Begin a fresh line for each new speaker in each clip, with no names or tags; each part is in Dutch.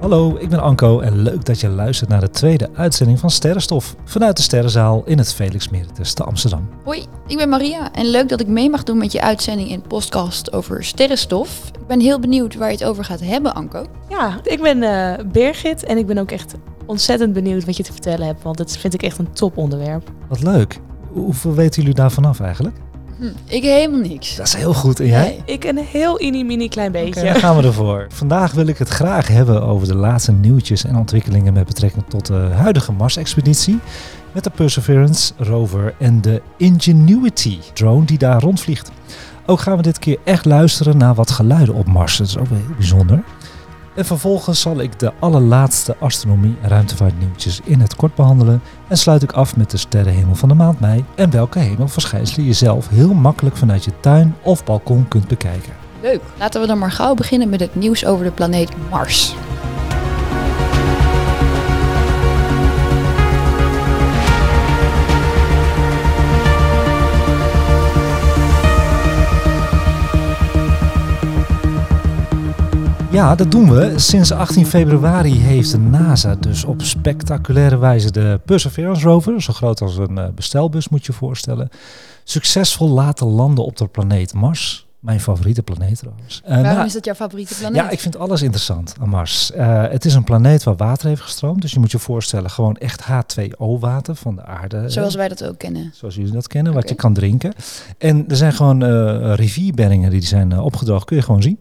Hallo, ik ben Anko en leuk dat je luistert naar de tweede uitzending van Sterrenstof vanuit de Sterrenzaal in het Felix Meritus te Amsterdam.
Hoi, ik ben Maria en leuk dat ik mee mag doen met je uitzending en podcast over sterrenstof. Ik ben heel benieuwd waar je het over gaat hebben, Anko.
Ja, ik ben eh Birgit en ik ben ook echt ontzettend benieuwd wat je te vertellen hebt, want dit vind ik echt een toponderwerp.
Wat leuk. Hoeveel weten jullie daarvan af eigenlijk?
Hm, ik helemaal niks.
Dat is heel goed. En jij?
Nee.
Ik een heel inimini klein beetje.
Oké, daar gaan we ervoor. Vandaag wil ik het graag hebben over de laatste nieuwtjes en ontwikkelingen met betrekking tot de huidige Mars-expeditie. Met de Perseverance rover en de Ingenuity drone die daar rondvliegt. Ook gaan we dit keer echt luisteren naar wat geluiden op Mars. Dat is ook wel heel bijzonder. En vervolgens zal ik de allerlaatste astronomie- en ruimtevaartnieuwtjes in het kort behandelen. En sluit ik af met de sterrenhemel van de maand mei. En welke hemelverschijnselen je zelf heel makkelijk vanuit je tuin of balkon kunt bekijken.
Leuk. Laten we dan maar gauw beginnen met het nieuws over de planeet Mars.
Ja, dat doen we. Sinds 18 februari heeft de NASA dus op spectaculaire wijze de Perseverance rover, zo groot als een eh, bestelbus moet je je voorstellen, succesvol laten landen op de planeet Mars. Mijn favoriete planeet trouwens. Eh,
Waarom
nou,
is dat jouw favoriete planeet?
ja, ik vind alles interessant aan Mars. Eh, het is een planeet waar water heeft gestroomd, dus je moet je voorstellen gewoon echt H2O water van de aarde. eh,
Zoals wij dat ook kennen.
zoals jullie dat kennen, wat
Oké.
je kan drinken. En er zijn gewoon eh rivierbeddingen die zijn eh, opgedroogd, kun je gewoon zien.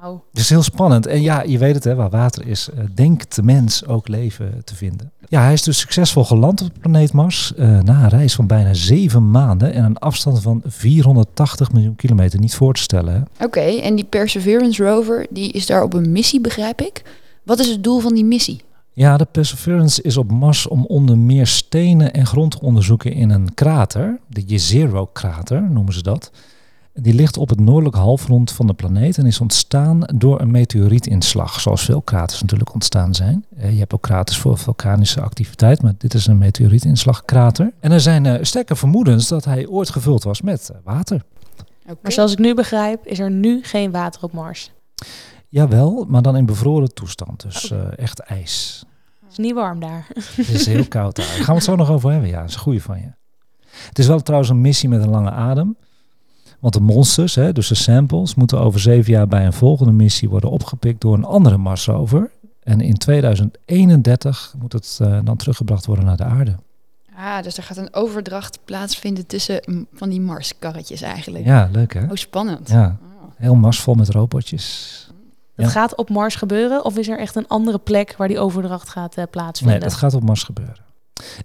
Nou,
Het is heel spannend. En ja, je weet het hè, waar water is, eh, denkt de mens ook leven te vinden. Ja, hij is dus succesvol geland op de planeet Mars. eh, na een reis van bijna zeven maanden en een afstand van 480 miljoen kilometer. Niet voor te stellen. Hè.
Oké, en die Perseverance rover, die is daar op een missie, begrijp ik. Wat is het doel van die missie?
Ja, de Perseverance is op Mars om onder meer stenen en grond te onderzoeken in een krater. De Jezero-krater noemen ze dat. Die ligt op het noordelijk halfrond van de planeet en is ontstaan door een meteorietinslag. Zoals veel kraters natuurlijk ontstaan zijn. Eh, Je hebt ook kraters voor vulkanische activiteit, maar dit is een meteorietinslagkrater. En er zijn eh, sterke vermoedens dat hij ooit gevuld was met eh, water.
maar zoals ik nu begrijp, is er nu geen water op Mars.
Jawel, maar dan in bevroren toestand. Dus eh, echt ijs.
Het is niet warm daar.
Het is heel koud daar. Daar gaan we het zo nog over hebben. Ja, dat is een goeie van je. Het is wel trouwens een missie met een lange adem. Want de monsters, hè, dus de samples, moeten over zeven jaar bij een volgende missie worden opgepikt door een andere Marsrover. En in 2031 moet het eh, dan teruggebracht worden naar de aarde.
Ah, dus er gaat een overdracht plaatsvinden tussen mm, van die Mars-karretjes eigenlijk.
Ja, leuk hè?
Oh, spannend.
Ja,
Ah.
heel Mars vol met robotjes.
Dat
Ja.
gaat op Mars gebeuren of is er echt een andere plek waar die overdracht gaat eh, plaatsvinden?
Nee, dat gaat op Mars gebeuren.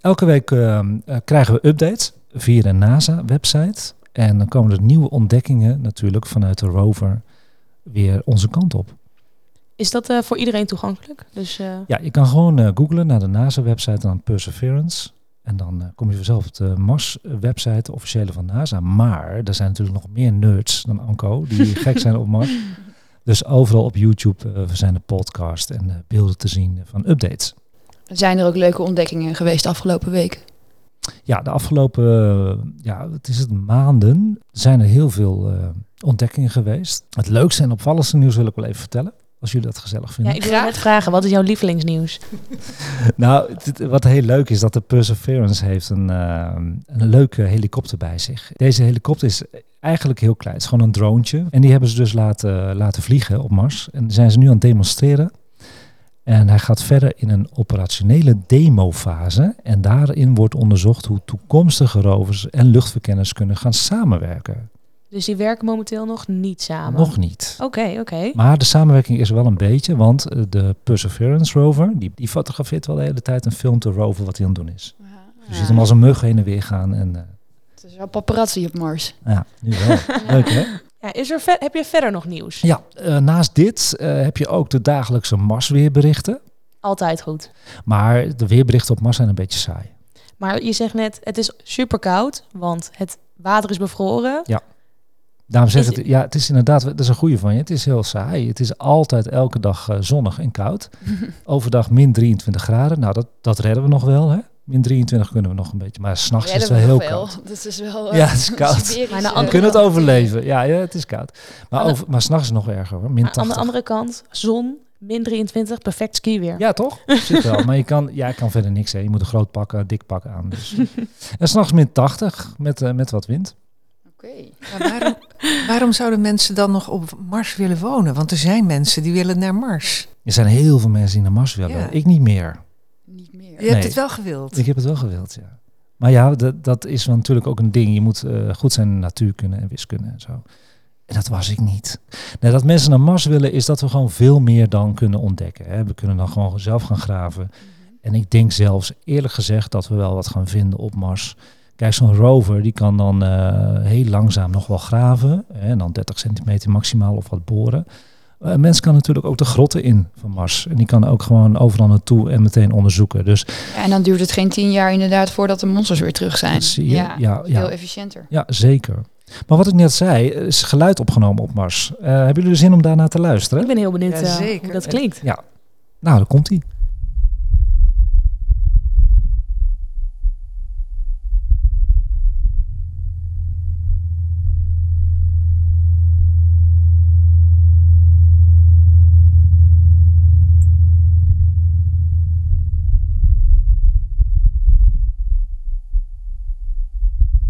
Elke week ehm, eh, krijgen we updates via de NASA-website. En dan komen er nieuwe ontdekkingen natuurlijk vanuit de rover weer onze kant op.
Is dat eh, voor iedereen toegankelijk? Dus eh,
Ja, je kan gewoon eh googlen naar de NASA-website en dan Perseverance. En dan eh, kom je vanzelf op de Mars-website, de officiële van NASA. Maar er zijn natuurlijk nog meer nerds dan Anko die gek zijn op Mars. Dus overal op YouTube eh, zijn de podcast en eh, beelden te zien van updates.
Zijn er ook leuke ontdekkingen geweest afgelopen week?
Ja, de afgelopen eh, ja, het is het, maanden zijn er heel veel eh, ontdekkingen geweest. Het leukste en opvallendste nieuws wil ik wel even vertellen. Als jullie dat gezellig
ja,
vinden.
ik wil je net vragen, wat is jouw lievelingsnieuws?
Nou, dit- wat heel leuk is dat de Perseverance heeft een, eh, een leuke helikopter bij zich. Deze helikopter is eigenlijk heel klein. Het is gewoon een droontje. En die hebben ze dus laten, laten vliegen op Mars. En die zijn ze nu aan het demonstreren. En hij gaat verder in een operationele demofase. En daarin wordt onderzocht hoe toekomstige rovers en luchtverkenners kunnen gaan samenwerken.
Dus die werken momenteel nog niet samen.
Nog niet.
Oké, oké.
Maar de samenwerking is er wel een beetje, want eh, de Perseverance rover, die, die fotografeert wel de hele tijd en filmt de rover wat hij aan het doen is. Dus Je ziet hem als een mug heen en weer gaan. En, eh,
Het is wel paparazzi op Mars.
nou ja, nu wel. Leuk hè?
Ja, is er ver- heb je verder nog nieuws?
Ja, eh, naast dit eh, heb je ook de dagelijkse Marsweerberichten.
altijd goed.
Maar de weerberichten op Mars zijn een beetje saai.
Maar je zegt net, het is super koud, want het water is bevroren.
Daarom zeg
Is-
ik, het- ja, het is inderdaad, dat is een goede van je. Het is heel saai. Het is altijd elke dag eh, zonnig en koud. Overdag min 23 graden. Nou, dat, dat redden we nog wel, hè? Min 23 kunnen we nog een beetje. Maar s'nachts is het wel heel koud.
Dat is wel... eh,
Ja, het is koud.
Siberisch,
Maar aan de
eh,
We
andere
kunnen het
land.
overleven. Ja, ja het is koud. Maar,
Aan de-
over, maar s'nachts is het nog erger, hoor. Min
Maar aan de
80.
andere kant, zon, min 23, perfect ski weer.
Ja, toch? Zit wel. Maar je kan, ja, je kan verder niks. Hè. Je moet een groot pak, een dik pak aan. Dus. en s'nachts min 80 met, eh, met wat wind.
eh, Oké.
Maar waarom, waarom zouden mensen dan nog op Mars willen wonen? Want er zijn mensen die willen naar Mars.
Er zijn heel veel mensen die naar Mars willen.
Ja.
Ik niet meer.
Niet
Je
meer.
hebt
Nee.
het wel gewild.
Ik heb het wel gewild, ja. Maar ja, dat, dat is wel natuurlijk ook een ding. Je moet eh, goed zijn in natuurkunde en wiskunde en zo. En dat was ik niet. Nee, dat mensen naar Mars willen is dat we gewoon veel meer dan kunnen ontdekken. Hè. We kunnen dan gewoon zelf gaan graven. En ik denk zelfs eerlijk gezegd dat we wel wat gaan vinden op Mars. Kijk, zo'n rover die kan dan eh, heel langzaam nog wel graven. Hè, en dan 30 centimeter maximaal of wat boren. Eh, Een mens kan natuurlijk ook de grotten in van Mars. En die kan ook gewoon overal naartoe en meteen onderzoeken. Dus
Ja, en dan duurt het geen tien jaar inderdaad voordat de monsters weer terug zijn.
Dat zie je.
Ja,
Ja, ja.
veel efficiënter.
Ja, zeker. Maar wat ik net zei, er is geluid opgenomen op Mars. Eh, hebben jullie er zin om daarna te
Ik
luisteren?
ben heel benieuwd eh,
Jazeker.
hoe dat klinkt.
Nou, daar komt hij.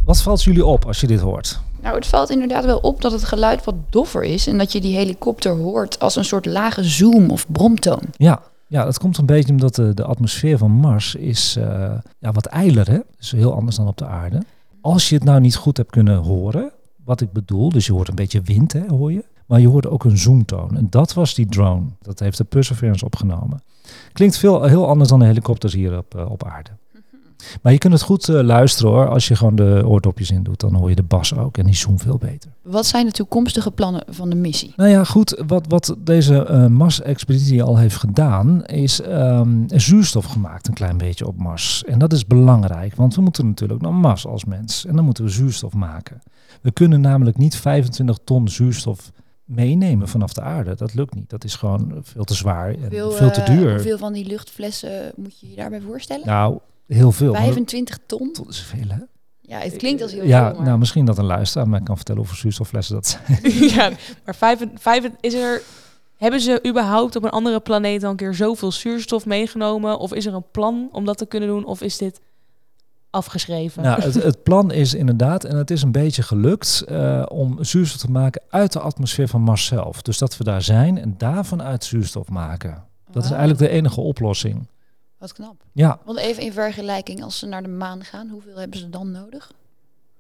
Wat valt jullie op als je dit hoort?
Nou, het valt inderdaad wel op dat het geluid wat doffer is en dat je die helikopter hoort als een soort lage zoom of bromtoon.
Ja, ja, dat komt een beetje omdat de, de atmosfeer van Mars is eh, ja, wat eiler. Hè? Dus heel anders dan op de aarde. Als je het nou niet goed hebt kunnen horen, wat ik bedoel, dus je hoort een beetje wind, hè, hoor je. Maar je hoorde ook een zoomtoon. En dat was die drone. Dat heeft de Perseverance opgenomen. Klinkt veel, heel anders dan de helikopters hier op, eh, op aarde. Maar je kunt het goed eh, luisteren hoor. Als je gewoon de oordopjes in doet, dan hoor je de bas ook. En die zoom veel beter.
Wat zijn de toekomstige plannen van de missie?
Nou ja, goed. Wat, wat deze eh Mars-expeditie al heeft gedaan, is ehm, zuurstof gemaakt een klein beetje op Mars. En dat is belangrijk, want we moeten natuurlijk naar Mars als mens. En dan moeten we zuurstof maken. We kunnen namelijk niet 25 ton zuurstof meenemen vanaf de aarde. Dat lukt niet. Dat is gewoon veel te zwaar en veel, te duur.
Hoeveel van die luchtflessen moet je je daarbij voorstellen?
Nou, heel veel. Maar
25 ton?
dat is veel, hè?
Ja, het klinkt als heel
Ja,
veel, maar
nou misschien dat een luisteraar mij kan vertellen hoeveel zuurstofflessen dat zijn.
ja, maar vijf, vijf, is er, hebben ze überhaupt op een andere planeet al een keer zoveel zuurstof meegenomen? Of is er een plan om dat te kunnen doen? Of is dit afgeschreven?
Nou, het, het plan is inderdaad, en het is een beetje gelukt, eh, om zuurstof te maken uit de atmosfeer van Mars zelf. Dus dat we daar zijn en daarvan uit zuurstof maken. Dat is
Wauw,
eigenlijk de enige oplossing.
Wat knap.
Ja,
Want even in vergelijking, als ze naar de maan gaan, hoeveel hebben ze dan nodig?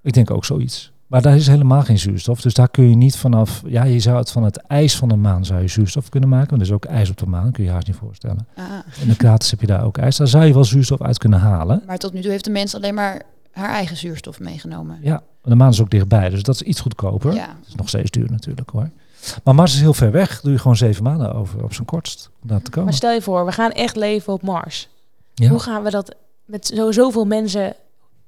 ik denk ook zoiets. Maar daar is helemaal geen zuurstof. Dus daar kun je niet vanaf. Ja, je zou het van het ijs van de maan zou je zuurstof kunnen maken. Want er is ook ijs op de maan, kun je je haast niet voorstellen.
Ah,
In de kraters heb je daar ook ijs. Daar zou je wel zuurstof uit kunnen halen.
maar tot nu toe heeft de mens alleen maar haar eigen zuurstof meegenomen.
Ja, de maan is ook dichtbij, dus dat is iets goedkoper.
Ja.
Het is nog steeds duur natuurlijk hoor. Maar Mars is heel ver weg. Doe je gewoon zeven maanden over op zijn kortst om daar te
maar
komen.
stel je voor, we gaan echt leven op Mars.
Ja.
Hoe gaan we dat met zo, zoveel mensen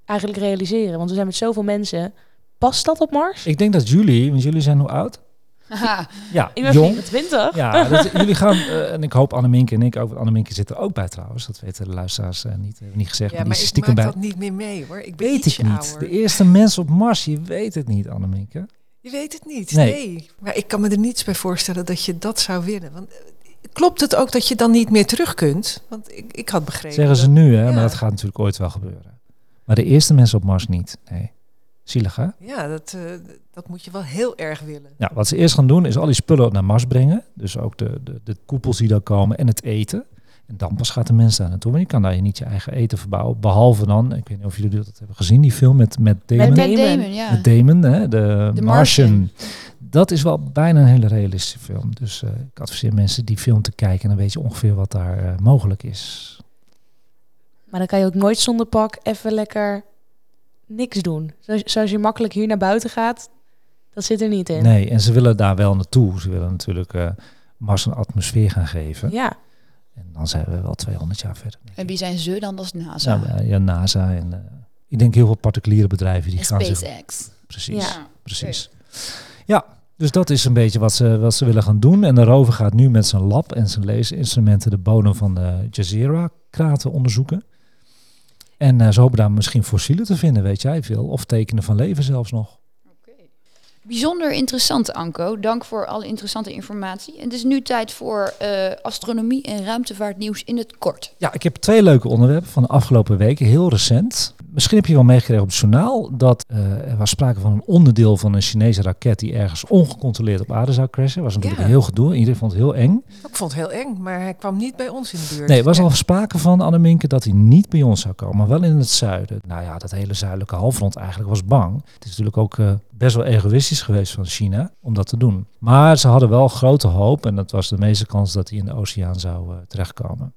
eigenlijk realiseren? Want we zijn met zoveel mensen. Past dat op Mars?
Ik denk dat jullie, want jullie zijn hoe oud?
Haha,
Ja,
Ik ben
jong.
24.
Ja, dat, jullie gaan, eh, en ik hoop Anneminke en ik ook. want Anneminke zit er ook bij trouwens. Dat weten de luisteraars eh, niet, hebben niet gezegd.
Ja,
maar die
maar
is
ik
stiekem
maak
bij.
dat niet meer mee hoor. Ik ben
Weet
ietsje
ik niet.
ouder.
De eerste mens op Mars, je weet het niet, Anneminke.
Je weet het niet,
Nee.
nee. Maar ik kan me er niets bij voorstellen dat je dat zou willen. Want eh, klopt het ook dat je dan niet meer terug kunt? Want ik, ik had begrepen...
Zeggen ze
dat-
nu, hè?
Ja.
Maar dat gaat natuurlijk ooit wel gebeuren. Maar de eerste mensen op Mars niet. Nee. Zielig, hè?
Ja, dat, eh, dat moet je wel heel erg willen.
Nou, wat ze eerst gaan doen is al die spullen naar Mars brengen. Dus ook de, de, de koepels die daar komen en het eten. En dan pas gaat de mens daar naartoe. Want je kan daar niet je eigen eten verbouwen. Behalve dan, ik weet niet of jullie dat hebben gezien, die film met, met Damon.
Met
Met
Damon.
Matt Damon, ja.
Met Damon, hè, de,
De
Martian.
Martian.
Dat is wel bijna een hele realistische film. Dus eh, ik adviseer mensen die film te kijken. En dan weet je ongeveer wat daar eh, mogelijk is.
Maar dan kan je ook nooit zonder pak even lekker niks doen. Zo- Zoals je makkelijk hier naar buiten gaat, dat zit er niet in.
Nee, en ze willen daar wel naartoe. Ze willen natuurlijk eh, Mars een atmosfeer gaan geven.
Ja.
En dan zijn we wel 200 jaar verder. denk
En
ik.
wie zijn ze dan? Dat is NASA.
Nou, eh, ja, NASA en eh, ik denk heel veel particuliere bedrijven die
en
gaan zich...
SpaceX. Ah,
Precies.
Ja.
precies. Ja, dus dat is een beetje wat ze, wat ze willen gaan doen. En de rover gaat nu met zijn lab en zijn laseninstrumenten de bodem van de Jazeera-kraten onderzoeken. En eh, ze hopen daar misschien fossielen te vinden, weet jij veel. Of tekenen van leven zelfs nog.
Bijzonder interessant, Anko. Dank voor alle interessante informatie. En het is nu tijd voor eh, astronomie en ruimtevaartnieuws in het kort.
Ja, ik heb twee leuke onderwerpen van de afgelopen weken, heel recent. Misschien heb je wel meegekregen op het journaal dat eh, er was sprake van een onderdeel van een Chinese raket die ergens ongecontroleerd op aarde zou crashen. was natuurlijk
Ja.
heel gedoe, iedereen vond het heel eng.
Ik vond het heel eng, maar hij kwam niet bij ons in de buurt.
Nee, er was
Ja.
al sprake van, Anneminke, dat hij niet bij ons zou komen, maar wel in het zuiden. Nou ja, dat hele zuidelijke halfrond eigenlijk was bang. Het is natuurlijk ook eh, best wel egoïstisch geweest van China om dat te doen. Maar ze hadden wel grote hoop en dat was de meeste kans dat hij in de oceaan zou eh, terechtkomen.
Nou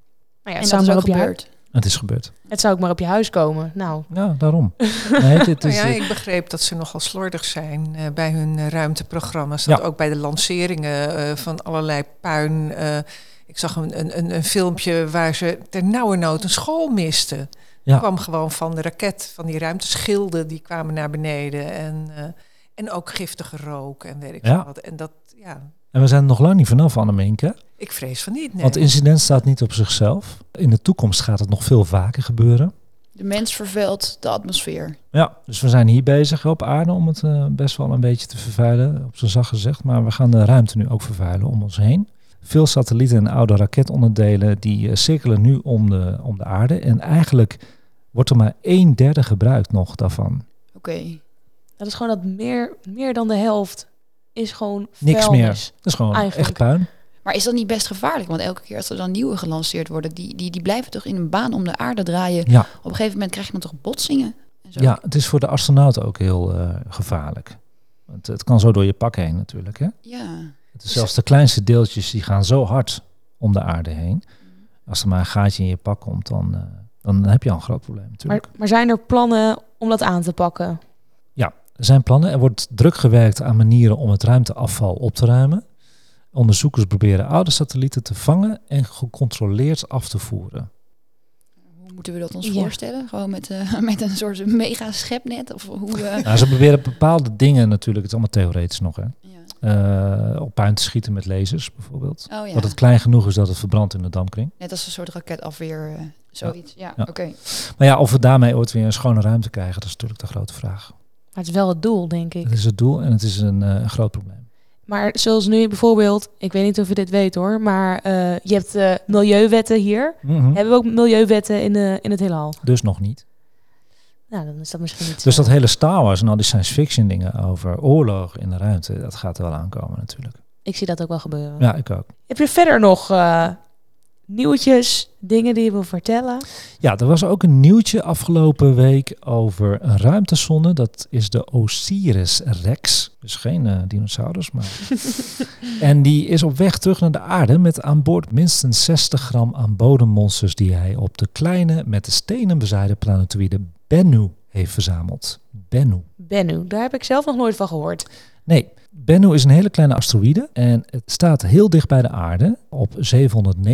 en
ja, het,
dat
zou
is
maar
ook
op je hu-
gebeurd.
Het is gebeurd.
het zou ook maar op je huis komen. Nou,
Ja, daarom. Nee, dit
Nou
is,
ja, ik begreep dat ze nogal slordig zijn eh, bij hun eh, ruimteprogramma's.
Ja.
Dat ook bij de lanceringen eh, van allerlei puin. eh, ik zag een, een, een, een filmpje waar ze ter nauwernood een school misten.
Ja.
kwam gewoon van de raket, van die ruimteschilden, die kwamen naar beneden. En, eh, en ook giftige rook en weet ik
Ja.
veel wat. En dat, ja,
En we zijn er nog lang niet vanaf, Anneminke.
ik vrees van niet. Nee.
Want het incident staat niet op zichzelf. In de toekomst gaat het nog veel vaker gebeuren.
De mens vervuilt de atmosfeer.
Ja, dus we zijn hier bezig op aarde om het eh, best wel een beetje te vervuilen, op zijn zacht gezegd. Maar we gaan de ruimte nu ook vervuilen om ons heen. Veel satellieten en oude raketonderdelen die eh, cirkelen nu om de, om de aarde. En eigenlijk wordt er maar een derde gebruikt nog daarvan.
Oké.
dat is gewoon dat meer, meer dan de helft is gewoon
Niks
vuilnis.
Dat is gewoon
Eigenlijk.
echt puin.
Maar is dat niet best gevaarlijk? Want elke keer als er dan nieuwe gelanceerd worden, die, die, die blijven toch in een baan om de aarde draaien.
Ja.
Op een gegeven moment krijg je dan toch botsingen? En zo.
Ja, het is voor de astronauten ook heel eh, gevaarlijk. Want het kan zo door je pak heen natuurlijk. Hè?
Ja.
Het is zelfs de kleinste deeltjes die gaan zo hard om de aarde heen. Als er maar een gaatje in je pak komt, dan, eh, dan heb je al een groot probleem
Maar,
natuurlijk.
maar zijn er plannen om dat aan te pakken?
Er zijn plannen. Er wordt druk gewerkt aan manieren om het ruimteafval op te ruimen. Onderzoekers proberen oude satellieten te vangen en gecontroleerd af te voeren.
Hoe moeten we dat ons
Ja.
voorstellen? Gewoon met, eh, met een soort mega schepnet? Of hoe, eh,
Nou, ze proberen bepaalde dingen natuurlijk, het is allemaal theoretisch nog, hè,
ja.
eh, op puin te schieten met lasers bijvoorbeeld.
Oh ja,
Dat het klein genoeg is dat het verbrandt in de dampkring.
net als een soort raketafweer, eh, zoiets. Ja,
Ja.
oké.
Maar ja, of we daarmee ooit weer een schone ruimte krijgen, dat is natuurlijk de grote vraag.
Maar het is wel het doel, denk ik.
Dat is het doel en het is een eh, groot probleem.
Maar zoals nu bijvoorbeeld, ik weet niet of je dit weet hoor, maar eh, je hebt eh, milieuwetten hier.
Mhm.
Hebben we ook milieuwetten in, eh, in het heelal?
Dus nog niet.
Nou, dan is dat misschien niet
Dus
zo.
dat hele Star Wars en al die science fiction dingen over oorlog in de ruimte, dat gaat er wel aankomen natuurlijk.
Ik zie dat ook wel gebeuren.
Ja, ik ook.
Heb je verder nog eh, nieuwtjes, dingen die je wil vertellen?
Ja, er was ook een nieuwtje afgelopen week over een ruimtesonde. Dat is de Osiris Rex. Dus geen eh, dinosaurus, maar... en die is op weg terug naar de aarde met aan boord minstens 60 gram aan bodemmonsters... die hij op de kleine, met de stenen bezaaide planetoïde Bennu heeft verzameld. Bennu.
Bennu, daar heb ik zelf nog nooit van gehoord.
Nee, Bennu is een hele kleine asteroïde en het staat heel dicht bij de aarde op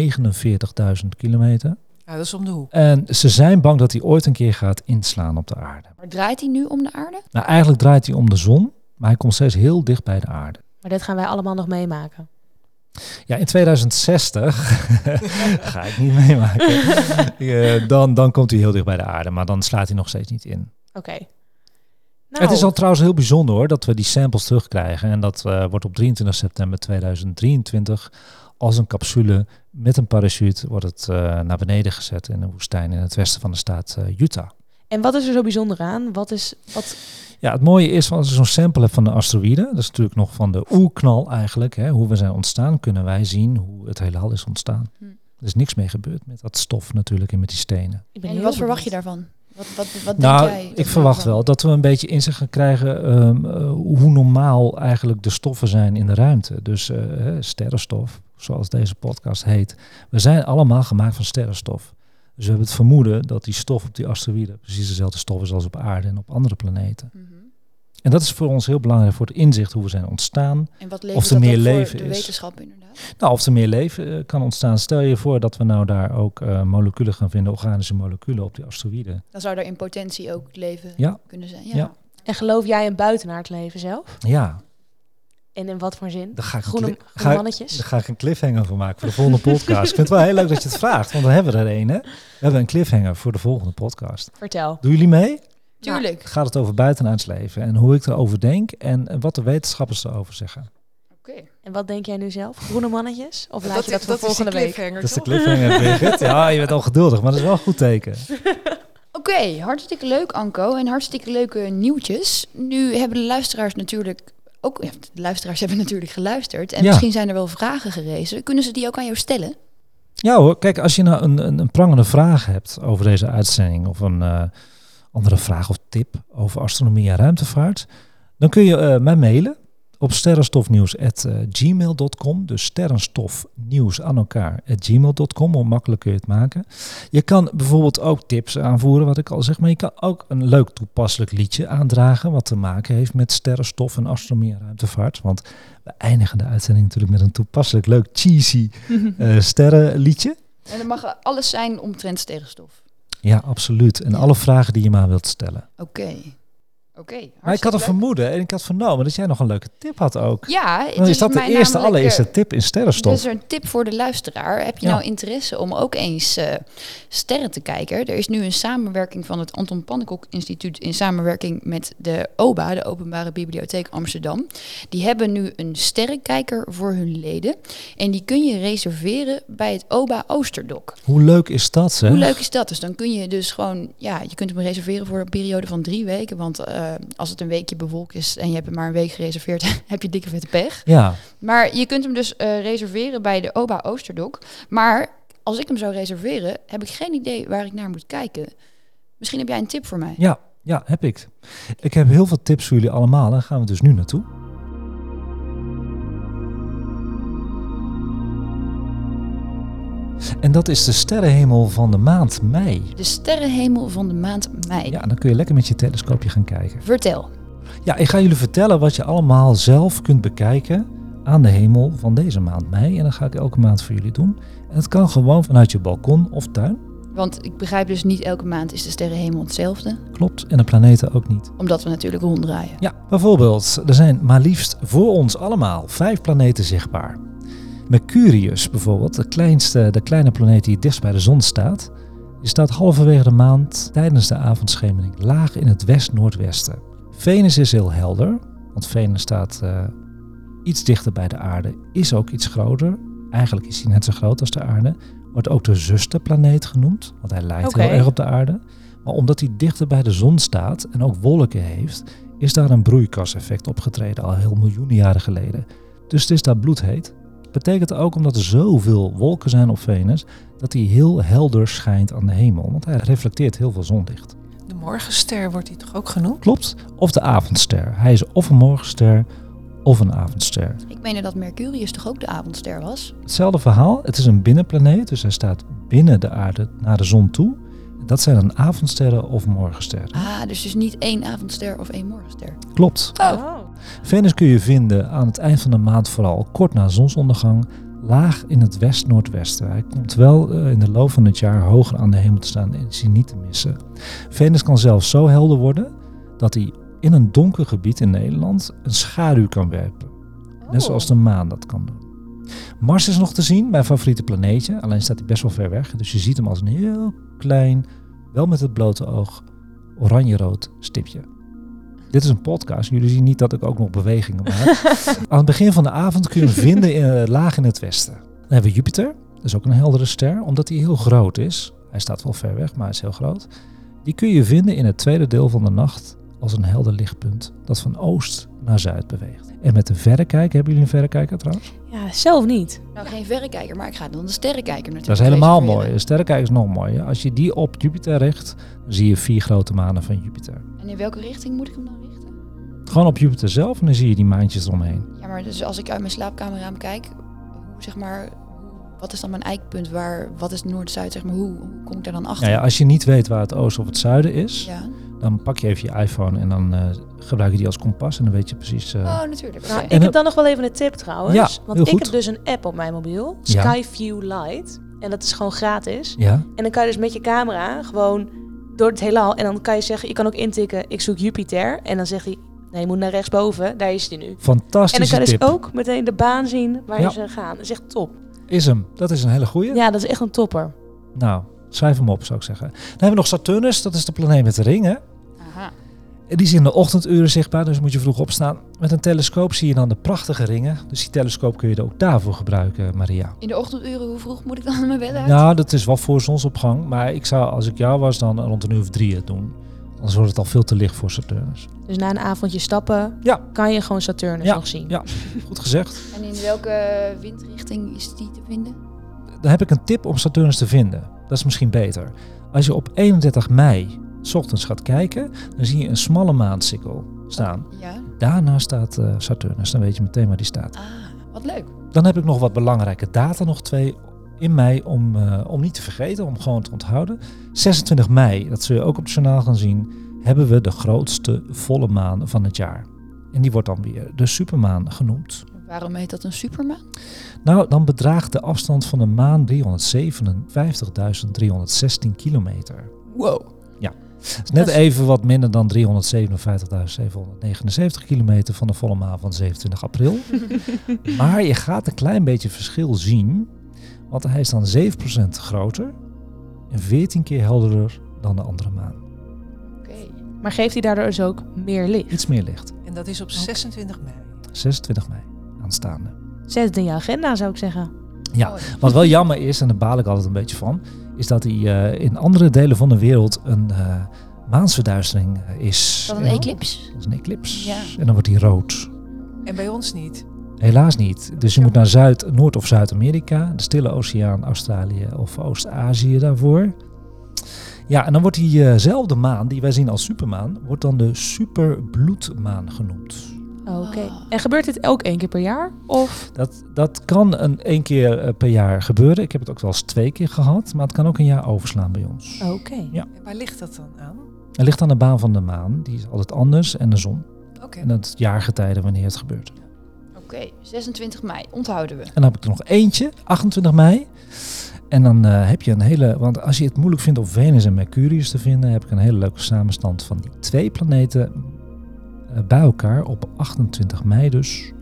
749.000 kilometer.
Ja, Nou, dat is om de hoek.
En ze zijn bang dat hij ooit een keer gaat inslaan op de aarde.
Maar draait hij nu om de aarde?
Nou, eigenlijk draait hij om de zon, maar hij komt steeds heel dicht bij de aarde.
Maar dit gaan wij allemaal nog meemaken.
Ja, in 2060 ga ik niet meemaken. Eh, dan, dan komt hij heel dicht bij de aarde, maar dan slaat hij nog steeds niet in.
Oké. Nou,
Het is al trouwens heel bijzonder hoor, dat we die samples terugkrijgen. En dat eh, wordt op 23 september 2023 als een capsule met een parachute wordt het eh, naar beneden gezet in een woestijn in het westen van de staat eh, Utah.
En wat is er zo bijzonder aan? Wat is, wat,
Ja, het mooie is, als je zo'n sample hebt van de asteroïde, dat is natuurlijk nog van de oerknal eigenlijk, hè, hoe we zijn ontstaan, kunnen wij zien hoe het heelal is ontstaan.
Hm.
Er is niks mee gebeurd met dat stof natuurlijk en met die stenen.
ik ben
En
heel
wat verwacht je
benieuwd.
daarvan? Wat, wat, wat
Nou,
denk jij?
ik verwacht wel dat we een beetje inzicht gaan krijgen ehm, eh, hoe normaal eigenlijk de stoffen zijn in de ruimte. Dus eh, hè, sterrenstof, zoals deze podcast heet. We zijn allemaal gemaakt van sterrenstof. Dus we hebben het vermoeden dat die stof op die asteroïden precies dezelfde stof is als op aarde en op andere planeten.
Mhm.
En dat is voor ons heel belangrijk voor het inzicht hoe we zijn ontstaan.
En
Of
wat levert
er
dat
meer
dan
leven
voor
is.
de wetenschap inderdaad?
Nou, of er meer leven eh, kan ontstaan. Stel je voor dat we nou daar ook eh, moleculen gaan vinden, organische moleculen op die asteroïden.
Dan zou er in potentie ook leven
Ja.
kunnen zijn. Ja.
Ja.
En geloof jij in buitenaard leven zelf?
Ja,
En in wat voor zin?
daar ga ik, een
Groene,
cli-
groene
ga,
mannetjes?
daar ga ik een cliffhanger van maken voor de volgende podcast. ik vind het wel heel leuk dat je het vraagt, want dan hebben we er een. Hè? We hebben een cliffhanger voor de volgende podcast.
Vertel.
Doen jullie mee?
Tuurlijk.
Nou,
Gaat het over buitenaards leven en hoe ik erover denk en eh, wat de wetenschappers erover zeggen.
Oké.
En wat denk jij nu zelf? Groene mannetjes? Of laat je dat voor volgende week?
cliffhanger,
Dat is de
toch?
cliffhanger, Birgit. Ja, je bent al geduldig, maar dat is wel een goed teken.
Oké, hartstikke leuk Anko en hartstikke leuke nieuwtjes. Nu hebben de luisteraars natuurlijk ook, ja, de luisteraars hebben natuurlijk geluisterd en
Ja.
misschien zijn er wel vragen gerezen. Kunnen ze die ook aan jou stellen?
Ja hoor, kijk, als je nou een, een, een prangende vraag hebt over deze uitzending of een eh, andere vraag of tip over astronomie en ruimtevaart, dan kun je eh, mij mailen op eh, sterrenstofnieuws@gmail.com. Dus sterrenstofnieuws aan elkaar at gmail.com. Hoe makkelijk kun je het maken? Je kan bijvoorbeeld ook tips aanvoeren, wat ik al zeg, maar je kan ook een leuk toepasselijk liedje aandragen wat te maken heeft met sterrenstof en astronomie en ruimtevaart. Want we eindigen de uitzending natuurlijk met een toepasselijk leuk cheesy eh, sterrenliedje.
En dan mag alles zijn omtrent sterrenstof.
Ja, absoluut. En
Ja.
alle vragen die je maar wilt stellen.
Oké. Oké.
Maar ik had een
hartstikke leuk.
vermoeden en ik had vernomen dat jij nog een leuke tip had ook.
Ja,
Dan
het
is dat de
mij
eerste,
namelijk,
allereerste
eh,
tip in sterrenstof.
Dus een tip voor de luisteraar. Heb je
Ja.
nou interesse om ook eens eh, sterren te kijken? Er is nu een samenwerking van het Anton Pannenkoek Instituut in samenwerking met de OBA, de Openbare Bibliotheek Amsterdam. Die hebben nu een sterrenkijker voor hun leden. En die kun je reserveren bij het OBA Oosterdok.
Hoe leuk is dat, zeg?
Hoe leuk is dat? Dus dan kun je dus gewoon, ja, je kunt hem reserveren voor een periode van drie weken. Want eh, als het een weekje bewolkt is en je hebt hem maar een week gereserveerd, heb je dikke vette pech.
Ja,
Maar je kunt hem dus eh, reserveren bij de Oba Oosterdok. Maar als ik hem zou reserveren, heb ik geen idee waar ik naar moet kijken. Misschien heb jij een tip voor mij.
ja, ja, heb ik. Ik heb heel veel tips voor jullie allemaal. Daar gaan we dus nu naartoe. En dat is de sterrenhemel van de maand mei.
De sterrenhemel van de maand mei.
Ja, dan kun je lekker met je telescoopje gaan kijken.
Vertel.
Ja, ik ga jullie vertellen wat je allemaal zelf kunt bekijken aan de hemel van deze maand mei. En dat ga ik elke maand voor jullie doen. En dat kan gewoon vanuit je balkon of tuin.
Want ik begrijp dus niet elke maand is de sterrenhemel hetzelfde.
Klopt. En de planeten ook niet.
Omdat we natuurlijk ronddraaien.
Ja, bijvoorbeeld, er zijn maar liefst voor ons allemaal vijf planeten zichtbaar. Mercurius bijvoorbeeld, de, kleinste, de kleine planeet die het dichtst bij de zon staat, die staat halverwege de maand tijdens de avondschemering laag in het west-noordwesten. Venus is heel helder, want Venus staat eh, iets dichter bij de aarde, is ook iets groter. Eigenlijk is hij net zo groot als de aarde. Wordt ook de zusterplaneet genoemd, want hij lijkt
Oké.
heel erg op de aarde. Maar omdat hij dichter bij de zon staat en ook wolken heeft, is daar een broeikaseffect opgetreden al heel miljoenen jaren geleden. Dus het is daar bloedheet. Betekent ook omdat er zoveel wolken zijn op Venus, dat hij heel helder schijnt aan de hemel. Want hij reflecteert heel veel zonlicht.
De morgenster wordt die toch ook genoemd?
Klopt. Of de avondster. Hij is of een morgenster of een avondster.
Ik meende dat Mercurius toch ook de avondster was?
Hetzelfde verhaal. Het is een binnenplaneet, dus hij staat binnen de aarde naar de zon toe. Dat zijn dan avondsterren of morgensterren.
Ah, dus dus niet één avondster of één morgenster.
Klopt.
Oh.
Venus kun je vinden aan het eind van de maand vooral kort na zonsondergang, laag in het west-noordwesten. Hij komt wel eh, in de loop van het jaar hoger aan de hemel te staan en is hij niet te missen. Venus kan zelfs zo helder worden dat hij in een donker gebied in Nederland een schaduw kan werpen. Net zoals de maan dat kan doen. Mars is nog te zien, mijn favoriete planeetje. Alleen staat hij best wel ver weg. Dus je ziet hem als een heel klein, wel met het blote oog, oranje-rood stipje. Dit is een podcast. Jullie zien niet dat ik ook nog bewegingen maak. Aan het begin van de avond kun je hem vinden in, eh, laag in het westen. Dan hebben we Jupiter. Dat is ook een heldere ster, omdat hij heel groot is. Hij staat wel ver weg, maar hij is heel groot. Die kun je vinden in het tweede deel van de nacht als een helder lichtpunt dat van oost naar zuid beweegt. En met een verrekijker, hebben jullie een verrekijker trouwens?
Oh. Ja, zelf niet.
Nou, geen verrekijker, maar ik ga dan de sterrenkijker natuurlijk.
Dat is helemaal mooi.
reserveren.
Een sterrenkijker is nog mooier. Als je die op Jupiter richt, dan zie je vier grote manen van Jupiter.
En in welke richting moet ik hem dan richten?
Gewoon op Jupiter zelf en dan zie je die maantjes eromheen.
Ja, maar dus als ik uit mijn slaapkamer aan kijk, hoe zeg maar, hoe wat is dan mijn eikpunt? Waar, wat is Noord-Zuid? Zeg maar, hoe, hoe kom ik daar dan achter?
Nou ja, als je niet weet waar het oosten of het zuiden is,
Ja.
dan pak je even je iPhone en dan eh, gebruik je die als kompas en dan weet je precies. eh,
Oh, natuurlijk. Oké.
Nou,
En
ik
dan-
heb dan nog wel even een tip trouwens.
Ja,
want
heel
ik
goed.
heb dus een app op mijn mobiel,
Ja.
Skyview Lite. En dat is gewoon gratis.
ja,
En dan kan je dus met je camera gewoon door het heelal. En dan kan je zeggen, je kan ook intikken, ik zoek Jupiter. En dan zegt hij, nee, je moet naar rechtsboven. Daar is hij nu. En dan
fantastische
kan je dus
tip.
ook meteen de baan zien waar
Ja.
ze gaan. Dat is echt top.
Is hem. Dat is een hele goeie.
Ja, dat is echt een topper.
Nou, schrijf hem op zou ik zeggen. Dan hebben we nog Saturnus, dat is de planeet met de ringen.
Aha.
En Die is in de ochtenduren zichtbaar, dus moet je vroeg opstaan. Met een telescoop zie je dan de prachtige ringen. Dus die telescoop kun je er ook daarvoor gebruiken, Maria.
In de ochtenduren, hoe vroeg moet ik dan mijn bed uit?
Nou, dat is wel voor zonsopgang. Maar ik zou, als ik jou was, dan rond een uur of drie het doen. Anders wordt het al veel te licht voor Saturnus.
Dus na een avondje stappen
Ja.
kan je gewoon Saturnus
Ja.
nog zien.
Ja, goed gezegd.
En in welke windrichting is die te vinden?
Dan heb ik een tip om Saturnus te vinden. Dat is misschien beter. Als je op 31 mei 's ochtends gaat kijken, dan zie je een smalle maansikkel staan.
Ja.
Daarna staat eh, Saturnus, dan weet je meteen waar die staat.
Ah, wat leuk.
Dan heb ik nog wat belangrijke data, nog twee in mei, om, eh, om niet te vergeten, om gewoon te onthouden. 26 mei, dat zul je ook op het journaal gaan zien, hebben we de grootste volle maan van het jaar. En die wordt dan weer de supermaan genoemd.
Waarom heet dat een supermaan?
Nou, dan bedraagt de afstand van de maan 357.316 kilometer.
Wow.
Dat is net
Dat
even wat minder dan 357.779 kilometer van de volle maan van 27 april. maar je gaat een klein beetje verschil zien, want hij is dan 7% groter en 14 keer helderder dan de andere maan.
Oké.
Maar geeft hij daardoor dus ook meer licht.
Iets meer licht,
En dat is op
Oh.
26 mei.
26 mei aanstaande.
Zet het in je agenda, zou ik zeggen.
Ja.
Mooi.
Wat wel jammer is, en daar baal ik altijd een beetje van, is dat hij eh, in andere delen van de wereld een eh, maansverduistering eh, is.
Is dat een
Ja,
eclipse?
Dat is een eclipse.
Ja.
En dan wordt hij rood.
En bij ons niet.
Helaas niet. Dus je moet naar Zuid, Noord- of Zuid-Amerika, de Stille Oceaan, Australië of Oost-Azië daarvoor. Ja, en dan wordt diezelfde maan, die wij zien als supermaan, wordt dan de superbloedmaan genoemd.
Oké. En gebeurt dit ook één keer per jaar? Of?
Dat, dat kan een één keer eh, per jaar gebeuren. Ik heb het ook wel eens twee keer gehad, maar het kan ook een jaar overslaan bij ons.
Oké.
En waar ligt dat dan aan?
Het ligt aan de baan van de maan, die is altijd anders, en de zon.
Oké.
En dat jaargetijden wanneer het gebeurt.
Oké, 26 mei, onthouden we.
En dan heb ik er nog eentje, 28 mei. En dan eh, heb je een hele. Want als je het moeilijk vindt om Venus en Mercurius te vinden, heb ik een hele leuke samenstand van die twee planeten eh, bij elkaar op 28 mei dus.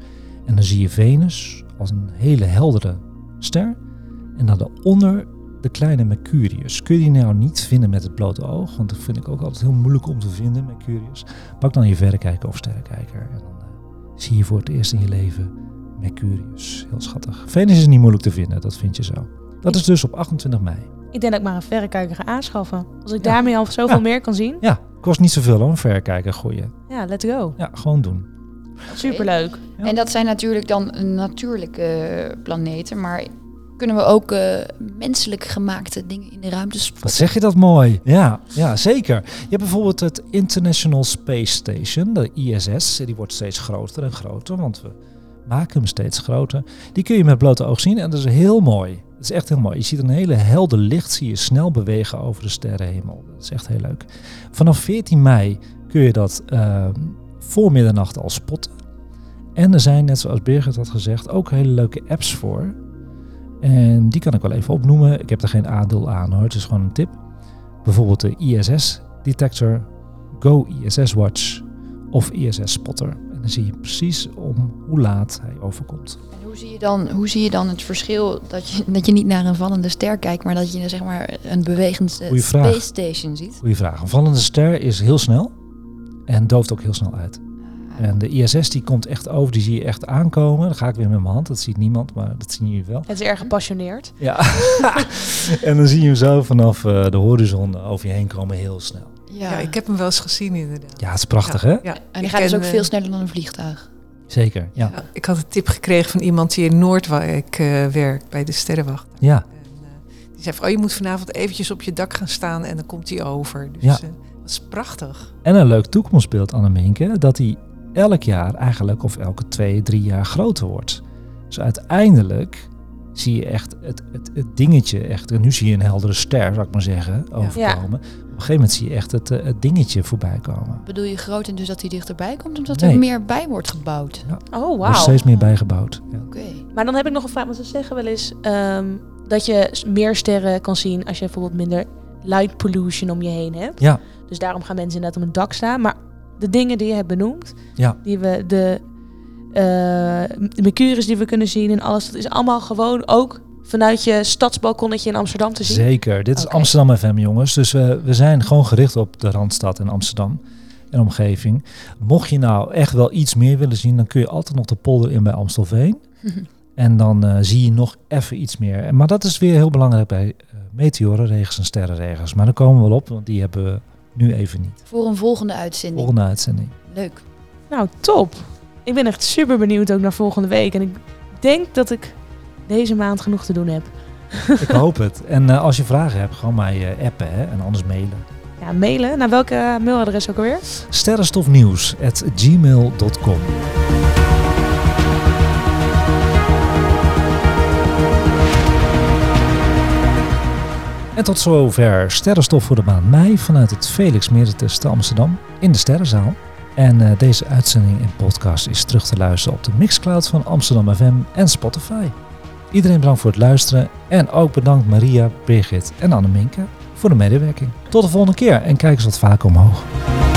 En dan zie je Venus als een hele heldere ster. En dan daaronder de kleine Mercurius. Kun je die nou niet vinden met het blote oog? Want dat vind ik ook altijd heel moeilijk om te vinden, Mercurius. Pak dan je verrekijker of sterrenkijker. En dan eh, zie je voor het eerst in je leven Mercurius, heel schattig. Venus is niet moeilijk te vinden, dat vind je zo. Dat is dus op 28 mei.
Ik denk dat ik maar een verrekijker ga aanschaffen. Als ik
Ja.
daarmee al zoveel
Ja.
meer kan zien.
Ja, kost niet zoveel hoor, een verrekijker gooien.
Ja, let's go.
Ja, gewoon doen.
Superleuk.
Ja.
En dat zijn natuurlijk dan natuurlijke planeten, maar kunnen we ook eh, menselijk gemaakte dingen in de ruimte spotten?
Wat zeg je dat mooi? Ja, ja zeker. Je hebt bijvoorbeeld het International Space Station, de ISS. Die wordt steeds groter en groter, want we maken hem steeds groter. Die kun je met blote oog zien en dat is heel mooi. Dat is echt heel mooi. Je ziet een hele helder licht, zie je snel bewegen over de sterrenhemel. Dat is echt heel leuk. Vanaf 14 mei kun je dat eh, voor middernacht al spotten. En er zijn, net zoals Birgit had gezegd, ook hele leuke apps voor. En die kan ik wel even opnoemen. Ik heb er geen aandeel aan hoor, het is gewoon een tip. Bijvoorbeeld de ISS Detector, Go ISS Watch of ISS Spotter. En dan zie je precies om hoe laat hij overkomt.
En hoe zie je dan, hoe zie je dan het verschil dat je, dat je niet naar een vallende ster kijkt, maar dat je zeg maar een bewegend eh,
Goeie vraag.
space station ziet?
Goeie vraag. Een vallende ster is heel snel en dooft ook heel snel uit. En de ISS die komt echt over, die zie je echt aankomen. Dan ga ik weer met mijn hand, dat ziet niemand, maar dat zien jullie wel.
Het is erg gepassioneerd.
Ja. en dan zie je hem zo vanaf eh, de horizon over je heen komen heel snel.
Ja,
Ja. ik heb hem wel eens gezien inderdaad.
Ja, het is prachtig hè?
Ja.
en die
Ik
gaat dus
ken,
ook
eh,
veel sneller dan een vliegtuig.
Zeker, ja.
ja, Ik had een tip gekregen van iemand die in Noordwijk eh werkt, bij de Sterrenwacht.
Ja,
En, eh, die zei van, oh je moet vanavond eventjes op je dak gaan staan en dan komt hij over. Dus
Ja.
eh, dat is prachtig.
en een leuk toekomstbeeld, Anneminke, dat hij elk jaar eigenlijk of elke twee, drie jaar groter wordt. Dus uiteindelijk zie je echt het, het, het dingetje. Echt. En nu zie je een heldere ster, zou ik maar zeggen, overkomen. Op een gegeven moment zie je echt het, eh, het dingetje voorbij komen.
Bedoel je groot en dus dat hij dichterbij komt, omdat
Nee.
er meer bij wordt gebouwd?
Oh,
Er is
wauw.
steeds meer bijgebouwd. Ja.
Oké.
Maar dan heb ik nog een vraag, want ze zeggen wel eens ehm, dat je s- meer sterren kan zien als je bijvoorbeeld minder light pollution om je heen hebt.
Ja.
Dus daarom gaan mensen inderdaad op een dak staan. Maar de dingen die je hebt benoemd,
Ja.
die we de, eh, de Mercurius die we kunnen zien en alles, dat is allemaal gewoon ook vanuit je stadsbalkonnetje in Amsterdam te zien.
Zeker. Dit is
Oké.
Amsterdam FM, jongens. Dus we, we zijn gewoon gericht op de Randstad en Amsterdam en omgeving. Mocht je nou echt wel iets meer willen zien, dan kun je altijd nog de polder in bij Amstelveen. en dan eh, zie je nog even iets meer. En- Maar dat is weer heel belangrijk bij eh, meteorenregens en sterrenregens. Maar daar komen we wel op, want die hebben we nu even niet.
Voor een volgende uitzending.
Volgende uitzending.
Leuk.
Nou, top. Ik ben echt super benieuwd ook naar volgende week. En ik denk dat ik deze maand genoeg te doen heb.
Ik hoop het. En eh, als je vragen hebt, gewoon mij eh, appen hè? en anders mailen.
Ja, mailen. Naar welke mailadres ook alweer?
Sterrenstofnieuws.gmail.com En tot zover Sterrenstof voor de maand mei vanuit het Felix Meritus te Amsterdam in de Sterrenzaal. En eh, deze uitzending en podcast is terug te luisteren op de Mixcloud van Amsterdam FM en Spotify. Iedereen bedankt voor het luisteren en ook bedankt Maria, Birgit en Anneminke voor de medewerking. Tot de volgende keer en kijk eens wat vaker omhoog.